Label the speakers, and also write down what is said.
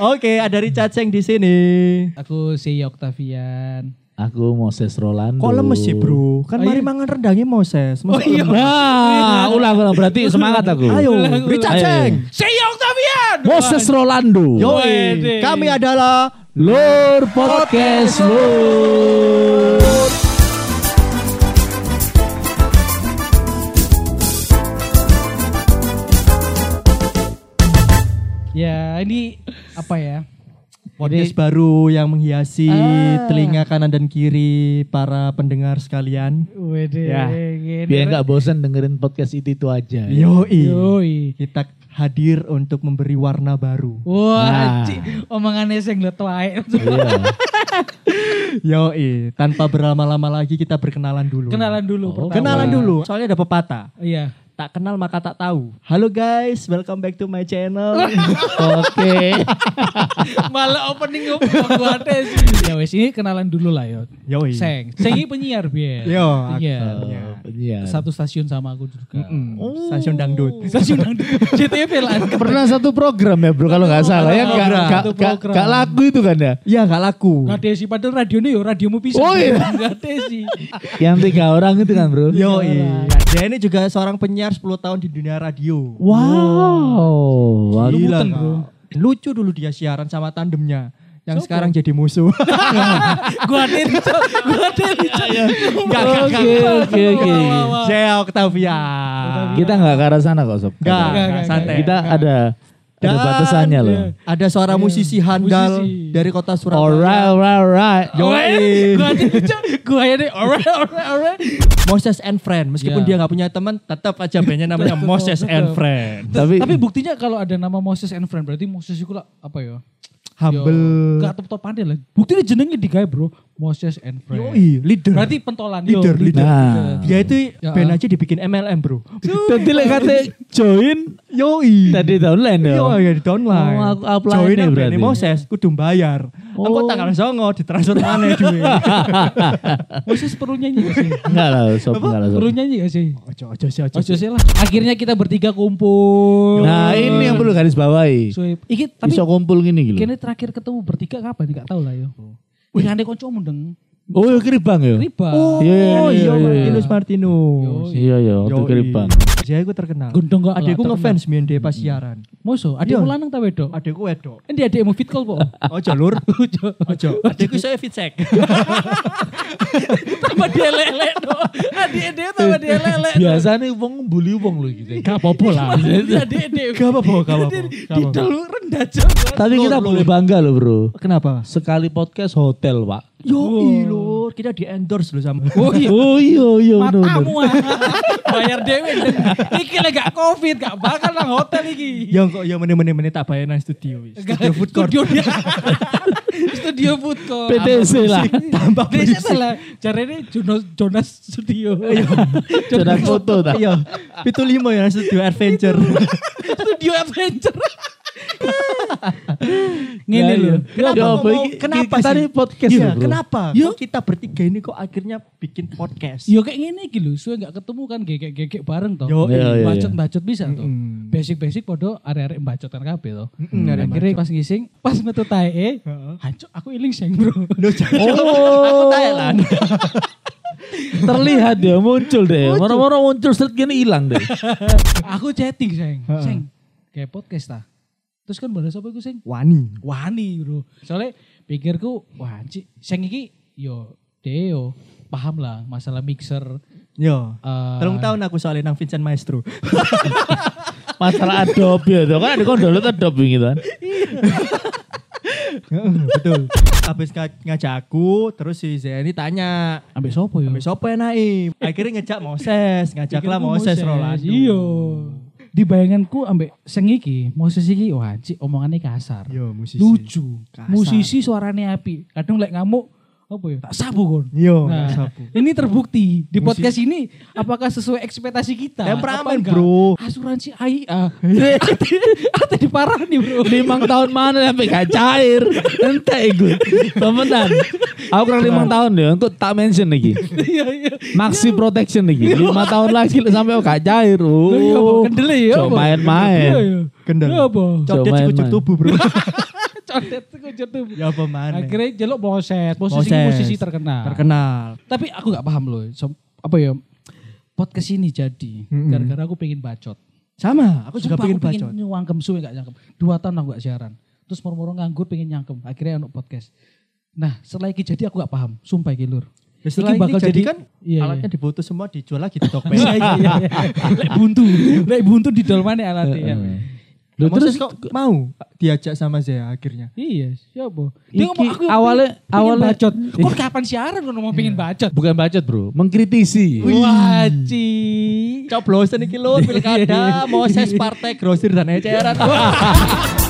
Speaker 1: Oke, ada Richard Seng di sini.
Speaker 2: Aku si Octavian.
Speaker 3: Aku Moses Rolando.
Speaker 1: Kok lemes sih, Bro? Kan
Speaker 2: Oh,
Speaker 1: mari
Speaker 2: iya. Oh,
Speaker 1: mangan rendangnya Moses.
Speaker 3: Oh,
Speaker 1: Masa
Speaker 3: iya.
Speaker 1: lemes?
Speaker 3: Nah, ulang ulang berarti semangat aku.
Speaker 1: Ayo,
Speaker 2: Ulang, ulang.
Speaker 1: Richard
Speaker 3: Ayo.
Speaker 1: Seng.
Speaker 2: Si Octavian.
Speaker 3: Moses Rolando.
Speaker 1: Yoi,
Speaker 2: Wede.
Speaker 1: kami adalah
Speaker 3: Lur podcast lur.
Speaker 2: Ya, ini apa ya?
Speaker 1: podcast baru yang menghiasi
Speaker 2: Ah.
Speaker 1: telinga kanan dan kiri para pendengar sekalian.
Speaker 2: Wede.
Speaker 1: Ya,
Speaker 2: gini.
Speaker 3: Biar nggak bosan dengerin podcast itu itu aja.
Speaker 1: Iya.
Speaker 3: ya.
Speaker 1: Yoi.
Speaker 2: Yoi.
Speaker 1: Kita hadir untuk memberi warna baru.
Speaker 2: Wah,
Speaker 3: Nah.
Speaker 2: cik, omongannya sing letu ae.
Speaker 3: Iya.
Speaker 1: Yoi, tanpa berlama-lama lagi kita berkenalan dulu.
Speaker 2: Kenalan
Speaker 3: Oh,
Speaker 2: dulu pertama.
Speaker 1: Kenalan dulu. Soalnya ada pepatah.
Speaker 2: Iya.
Speaker 1: Tak kenal maka tak tahu. Halo guys, welcome back to my channel.
Speaker 3: Oke.
Speaker 2: Malah opening up gua ate sih. Ya wes, ini kenalan dulu lah yo.
Speaker 1: Yoi.
Speaker 2: Seng. Seng ini penyiar biar.
Speaker 1: Yo,
Speaker 2: Iya.
Speaker 3: Iya.
Speaker 2: Satu stasiun sama aku juga.
Speaker 1: Mm, Stasiun dangdut.
Speaker 2: Stasiun yang di- CTV lah.
Speaker 3: Pernah satu program ya bro kalau nggak salah ya nggak
Speaker 2: program.
Speaker 3: nggak-
Speaker 2: Satu
Speaker 3: nggak-
Speaker 2: program.
Speaker 3: nggak laku itu kan ya.
Speaker 1: Iya gak laku.
Speaker 2: Gak ada sih, padahal radionya yo radiomu bisa.
Speaker 3: Oh, iya.
Speaker 2: Gak ada sih.
Speaker 3: Yang tiga orang itu kan bro.
Speaker 1: Yo,
Speaker 2: Iya
Speaker 1: iya. dia ini juga seorang penyiar 10 tahun di dunia radio.
Speaker 3: Wow. Wah,
Speaker 1: Gila,
Speaker 2: Lemutan,
Speaker 1: Kak.
Speaker 2: bro.
Speaker 1: Lucu dulu dia siaran sama tandemnya yang sekarang jadi musuh.
Speaker 2: gua ada di gua ada di
Speaker 1: Gak, gak, gak.
Speaker 3: Oke oke oke.
Speaker 1: Jel Octavian.
Speaker 3: Kita nggak ke arah sana kok sob.
Speaker 1: Gak,
Speaker 2: Gak,
Speaker 1: gak,
Speaker 2: gak,
Speaker 1: santai.
Speaker 3: Kita ada ada
Speaker 1: Dan-
Speaker 3: batasannya loh.
Speaker 1: Ada seorang musisi handal
Speaker 2: Iya. Musisi.
Speaker 1: dari kota
Speaker 3: Alright
Speaker 1: Surabaya.
Speaker 3: alright alright. eh.
Speaker 2: Yoi. Gua ada di gua ada alright alright alright.
Speaker 1: Moses and Friend. Meskipun
Speaker 2: Ya.
Speaker 1: dia gak punya teman, tetap aja bandnya namanya Moses and Friend.
Speaker 3: Tapi
Speaker 2: Tapi buktinya kalau ada nama Moses and Friend berarti Moses itu lah apa ya?
Speaker 1: Humble.
Speaker 2: Gak top topan lah. Buktinya jenengnya digawe bro. Moses and Friend.
Speaker 1: Yoi, leader.
Speaker 2: Berarti pentolan.
Speaker 1: Leader, leader.
Speaker 3: iya. Nah.
Speaker 1: dia itu
Speaker 2: Ya.
Speaker 1: band aja dibikin MLM, Bro.
Speaker 3: Tadi lek kate join
Speaker 1: Yoi.
Speaker 3: tadi downline ya.
Speaker 1: Iya, ya di downline.
Speaker 3: Oh, aku upline
Speaker 1: Join
Speaker 3: ya
Speaker 1: nang
Speaker 3: berarti.
Speaker 1: band Moses, kudu bayar. Engko tanggal songo ditransfer maneh duwe.
Speaker 2: Moses perlu nyanyi gak sih?
Speaker 3: Enggak lah, sob, enggak lah, sob.
Speaker 2: Perlu nyanyi gak sih?
Speaker 1: Ojo ojo sih ojo.
Speaker 2: Oh sih lah. Akhirnya kita bertiga kumpul.
Speaker 3: Nah, ini yang perlu garis bawahi.
Speaker 2: Swipe. Iki tapi
Speaker 3: Bisa kumpul gini
Speaker 1: Hmm.
Speaker 3: gitu.
Speaker 2: kene terakhir ketemu bertiga kapan? Gak tau lah yo.
Speaker 1: Oh.
Speaker 2: Wih, ada kancamu deng.
Speaker 3: Oh, ya keribang ya.
Speaker 2: Riba.
Speaker 1: Oh,
Speaker 3: Iya, iya,
Speaker 1: iya,
Speaker 3: iya, iya.
Speaker 1: Martinus Martinus.
Speaker 3: Iya, iya,
Speaker 1: Yoi.
Speaker 3: itu keribang.
Speaker 1: Dia aku terkenal.
Speaker 2: Gendong gak?
Speaker 1: Adekku
Speaker 2: Gak
Speaker 1: ngefans mien dia pas siaran.
Speaker 2: Moso, ada
Speaker 1: Iya.
Speaker 2: yang lanang ta wedok?
Speaker 1: Adekku wedok.
Speaker 2: Endi ada mau fit call po?
Speaker 1: Ojo lur.
Speaker 2: Ojo.
Speaker 1: Ojo. Adekku saya fit check.
Speaker 2: Tambah dia lele do. Adik
Speaker 1: Iya.
Speaker 2: dia tambah dia lele.
Speaker 3: Biasanya wong bully wong lho gitu.
Speaker 1: Gak apa-apa lah. Iya.
Speaker 2: Adik dia.
Speaker 1: Gak apa-apa, gak apa-apa. Gak
Speaker 2: Iya, Di
Speaker 1: apa-apa.
Speaker 2: dulu rendah jauh.
Speaker 3: Tapi kita boleh bangga loh, Bro.
Speaker 1: Kenapa?
Speaker 3: Sekali podcast hotel, Pak.
Speaker 1: Yo, lur, kita di endorse lho sama.
Speaker 2: Oh iya.
Speaker 3: Oh, iya, iya, bener, bener.
Speaker 2: Matamu ah. Bayar dewe. Deng. Iki lah gak covid, gak bakal nang hotel iki.
Speaker 1: Yang iya, kok yang menit-menit tak bayar nang studio wis. Studio food court.
Speaker 2: Studio dia. Studio food court.
Speaker 3: PTC lah.
Speaker 1: Tambah
Speaker 2: Desa
Speaker 1: berisik.
Speaker 2: lah. Caranya Jonas, Jonas Studio.
Speaker 3: Sudah foto tak?
Speaker 1: Iya, itu lima ya studio adventure.
Speaker 2: Studio Adventure. Ngene
Speaker 3: Ya,
Speaker 2: lho.
Speaker 3: iya. Kenapa
Speaker 1: Kenapa
Speaker 3: apa
Speaker 1: mau-
Speaker 3: iki-
Speaker 1: kenapa
Speaker 3: kita
Speaker 1: sih?
Speaker 3: ini podcast
Speaker 1: Iya,
Speaker 3: loh, Bro.
Speaker 1: kenapa? Kok kita bertiga ini kok akhirnya bikin podcast?
Speaker 2: Yo kayak ngene iki lho, suwe gak ketemu kan gegek-gegek bareng toh.
Speaker 1: Yo,
Speaker 3: iya, iya, iya.
Speaker 2: Bacot-bacot bisa toh.
Speaker 1: Mm-mm.
Speaker 2: Basic-basic podo arek-arek bacotan kabeh toh.
Speaker 1: Mm-mm, arek
Speaker 2: Akhirnya pas ngising, pas metu tae,
Speaker 1: Heeh.
Speaker 2: hancur aku iling seng bro.
Speaker 1: Loh, jangan-
Speaker 3: Oh.
Speaker 1: aku tanya lah.
Speaker 3: Terlihat ya muncul
Speaker 1: Eh,
Speaker 3: deh. Moro-moro muncul set gini hilang deh.
Speaker 2: aku chatting seng, seng, kayak podcast ta. Terus kan balas apa iku seng?
Speaker 1: Wani.
Speaker 2: wani bro soalnya pikirku wah anci sing iki yo deo paham lah masalah mixer
Speaker 1: Yo.
Speaker 2: eh,
Speaker 1: Iya. Telung tahun aku soalnya nang Vincent Maestro.
Speaker 3: Masalah Adobe ya, tuh. kan ada kon download Adobe gitu kan.
Speaker 1: Heeh, Betul. Habis nga- ngajak aku, terus si Zeni tanya,
Speaker 2: ambil sopo yo
Speaker 1: "Ambil sopo enake?" Akhirnya ngejak Moses, ngajaklah
Speaker 2: Pikirku
Speaker 1: Moses Rolando.
Speaker 2: iyo di bayanganku ambek sing iki Moses iki wah anci omongannya kasar
Speaker 1: Yo, musisi.
Speaker 2: lucu
Speaker 1: Kasar.
Speaker 2: musisi suaranya api kadang lek ngamuk apa ya tak sabu kon
Speaker 1: Yo,
Speaker 2: Nah,
Speaker 1: sapu.
Speaker 2: ini terbukti di podcast ini apakah sesuai ekspektasi kita?
Speaker 1: Temperamen,
Speaker 2: Apa enggak?
Speaker 1: bro.
Speaker 2: Asuransi AIA. Ada di parah nih bro.
Speaker 3: limang tahun mana sampai gak cair ente ikut temenan aku kurang limang tahun ya untuk tak mention lagi
Speaker 2: Iya iya.
Speaker 3: maxi protection lagi lima tahun lagi sampai aku gak cair
Speaker 2: Loh, iya, Bro.
Speaker 3: oh
Speaker 2: Kendele ya.
Speaker 3: Cok,
Speaker 2: Bro.
Speaker 3: main-main.
Speaker 2: Iya, iya.
Speaker 1: Kendel.
Speaker 2: Iya, Bro.
Speaker 1: Cok, dia
Speaker 3: Coba
Speaker 1: cukup
Speaker 3: main-main.
Speaker 1: tubuh, Bro.
Speaker 2: Cok, Condet iku jetu.
Speaker 1: Ya apa mana?
Speaker 2: Akhirnya jeluk proses, posisi
Speaker 1: Moses.
Speaker 2: posisi terkenal.
Speaker 1: Terkenal.
Speaker 2: Tapi aku gak paham loh, so- apa ya? Podcast ini jadi
Speaker 1: Mm-mm.
Speaker 2: gara-gara aku pengen bacot.
Speaker 1: Sama, aku juga
Speaker 2: Sumpah,
Speaker 1: pengen
Speaker 2: aku pengen
Speaker 1: bacot.
Speaker 2: nyangkem suwe gak nyangkem. Dua tahun aku gak siaran. Terus moro-moro nganggur pengen nyangkem. Akhirnya ono podcast. Nah, setelah iki jadi aku gak paham. Sumpah iki lur.
Speaker 1: Setelah
Speaker 2: Iki
Speaker 1: ini
Speaker 2: bakal
Speaker 1: jadi,
Speaker 2: jadi-
Speaker 1: kan
Speaker 2: Iya,
Speaker 1: alatnya dibutuh semua dijual lagi di Nah, Tokped.
Speaker 2: Iya, iya, iya, iya. Lek buntu, lek buntu di dalam mana alatnya ya.
Speaker 3: Loh,
Speaker 1: terus
Speaker 3: terus
Speaker 1: kok mau diajak sama Zea akhirnya?
Speaker 2: Iya, siapa?
Speaker 3: Iki
Speaker 2: Dia ngomong aku
Speaker 3: awalnya-
Speaker 2: pengen
Speaker 3: awalnya- Iya.
Speaker 2: bacot. Kok kapan siaran lu ngomong pengen bacot?
Speaker 3: bukan bacot bro, mengkritisi.
Speaker 2: Wah, ci. Iya.
Speaker 3: Iya.
Speaker 1: Coblosan iki lho pilkada, Moses Partai Grosir dan Eceran.